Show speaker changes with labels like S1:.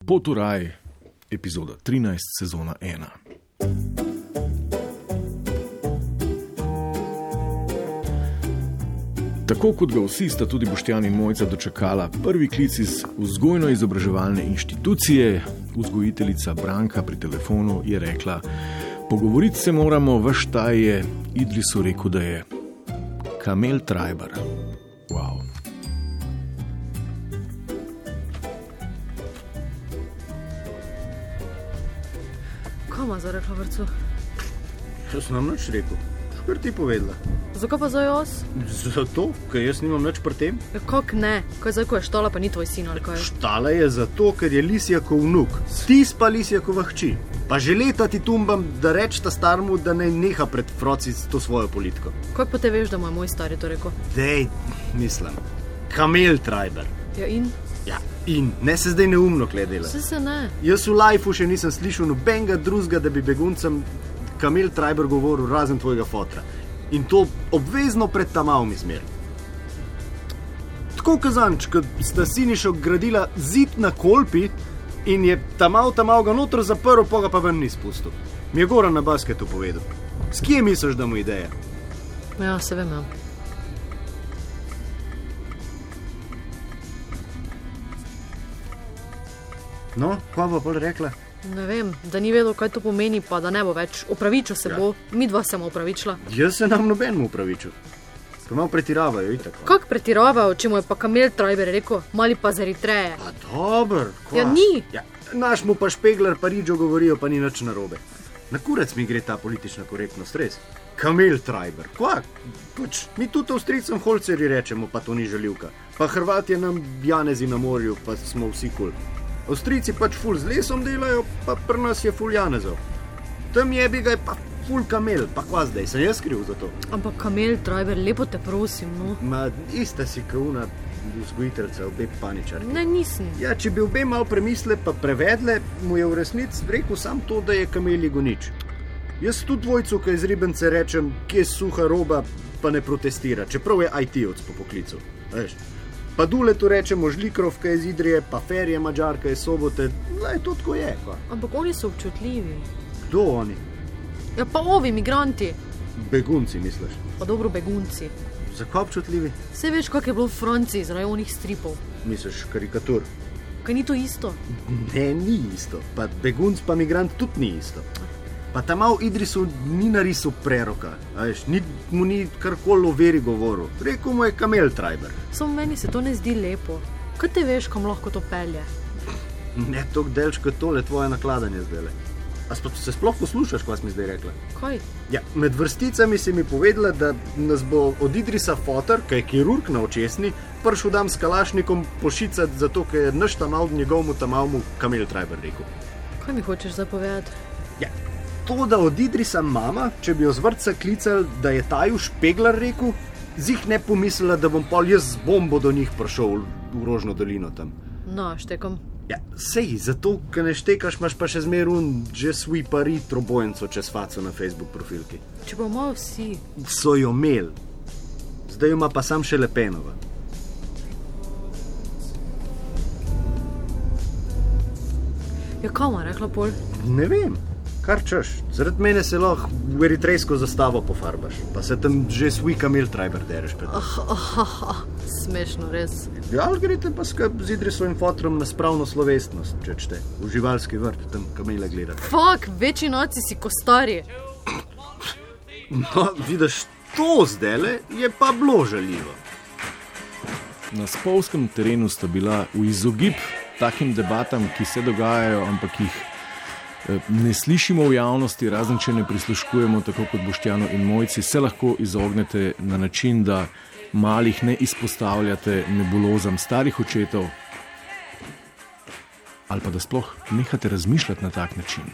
S1: Pot v raj, epizoda 13, sezona 1. Tako kot ga vsi sta tudi Boštjan in Mojca dočekala prvi klic iz vzgojno-izobraževalne inštitucije, vzgojiteljica Branka pri telefonu je rekla: Pogovoriti se moramo, veš, ta je Idrisu rekel, da je Kamel Trajbar. Wow.
S2: Kaj ima zdaj rekla vrtu?
S3: To sem nam nič rekel, škar ti povedala.
S2: Zakaj pa zdaj jaz?
S3: Zato, ker jaz nimam nič pri tem.
S2: Ja, Kak ne, kaj zdaj, ko je štola, pa ni tvoj sin ali kaj.
S3: Štala je zato, ker je lisjakov vnuk, ti pa lisjakova hči. Pa že leta ti tumbam, da rečeš starmu, da naj neha pred froci s to svojo politiko.
S2: Kaj pa te veš, da mu je moj stari to rekel?
S3: Dej, mislim, kamel trajber.
S2: Ja, in?
S3: Ja, in ne se zdaj neumno gledela.
S2: Vse se ne.
S3: Jaz v lajfu še nisem slišal nobenega drugega, da bi beguncem kamel trajber govoril, razen tvojega fotra. In to obvezno pred tamavmi zmer. Tako kazanč, kot sta sinišo gradila zid na kolpi in je tamav tamav ga noter zaprl, pa ga pa ven ni spustil. Mi je Goran na basketu povedal. S kje misliš, da mu je ideja?
S2: Ja, se vem. Ja.
S3: No, kva bo bolj rekla?
S2: Ne vem, da ni vedel, kaj to pomeni, pa da ne bo več. Opravičil se ja.
S3: Ja.
S2: bo, mi dva se mu opravičila.
S3: Jaz se nam nobenemu upravičil. Pa malo pretiravajo, itak.
S2: Kak pretirava, če mu je pa Kamil Trajber rekel, mali pa za Eritreje.
S3: Pa dober, kva.
S2: Ja, ni.
S3: Ja, naš mu pa špeglar, pa rižo govorijo, pa ni nič narobe. Na kurec mi gre ta politična korektnost, res. Kamel Trajber, kva, pač mi tudi avstrijcem holceri rečemo, pa to ni želivka. Pa Hrvatje nam janezi na morju, pa smo vsi kul. Cool. Avstrijci pač ful z lesom delajo, pa pri nas je ful janezov. Tam je bi ga pa ful kamel, pa kva zdaj, sem jaz kriv za to.
S2: Ampak Kamil Trajber, lepo te prosim, no.
S3: Ma ista si kauna, vzgojiteljica, obe paničarji.
S2: Ne, nisem.
S3: Ja, če bi obe malo premislili, pa prevedle, mu je v resnici rekel samo to, da je kameli gonič. Jaz tudi dvojcu, ki iz ribence rečem, kje je suha roba, pa ne protestira, čeprav je IT-ovc po poklicu. a veš. Pa dule tu rečemo žlikrov, ki je iz Idrije, pa ferje, mačarka je sobote, da je to tako je. kva.
S2: Ampak oni so občutljivi.
S3: Kdo oni?
S2: Ja, pa ovi migranti,
S3: Begunci, misliš?
S2: pa dobro begunci.
S3: Zakaj občutljivi?
S2: Vse veš, kak je bilo v Franciji zaradi onih stripov.
S3: Misliš karikatur?
S2: Kaj ni to isto?
S3: Ne, ni isto. Pa begunc, pa migrant tudi ni isto. Pa tam malo Idrisu ni narisal preroka, a veš, ni, mu ni karkoli o veri govoril. Rekel mu je kamel trajber.
S2: Samo meni se to ne zdi lepo. Kaj te veš, kam lahko to pelje?
S3: Ne tako delč kot tole tvoje nakladanje zdaj. A sp se sploh poslušaš, kaj si mi zdaj rekla?
S2: Kaj?
S3: Ja, med vrsticami si mi povedala, da nas bo od Idrisa Fotor, ki je kirurg na očesni, prišel dam s kalašnikom pošicati, zato ker je naš tam mal njegovemu tam malmu kamel trajber rekel.
S2: Kaj mi hočeš zdaj povedati?
S3: Ja, to, da od Idrisa mama, če bi jo z vrca klical, da je taju špeglar rekel, zih ne pomislila, da bom pol jaz z bombo do njih prišel v Rožno dolino tam.
S2: No, štekam.
S3: Ja, sej, zato, ker ne štekaš, imaš pa še zmerun, že svi pari trobojnico čez faco na Facebook profilki.
S2: Če bomo vsi,
S3: So jo imeli, zdaj jo ima pa sam še Lepenova.
S2: ja kam je rekla pol?
S3: Ne vem, kar češ. Zaradi mene se lahko v eritrejsko zastavo pofarbaš, pa se tam že svi kamel trajber dereš pred.
S2: Smešno, res.
S3: Ja, ali greste pa skrb z Idrisovim fotrom na spravno slovesnost, če čete, v živalski vrt, tam kamele gledate.
S2: Fak, večji noci si kostari.
S3: No, vidiš, to zdaj le je pa bilo žaljivo.
S1: Na spolskem terenu sta bila v izogib takim debatam, ki se dogajajo, ampak jih eh, ne slišimo v javnosti, razen če ne prisluškujemo, tako kot Boštjano in Mojci, se lahko izognete na način, da malih ne izpostavljate nebulozam starih očetov, ali pa da sploh nehate razmišljati na tak način.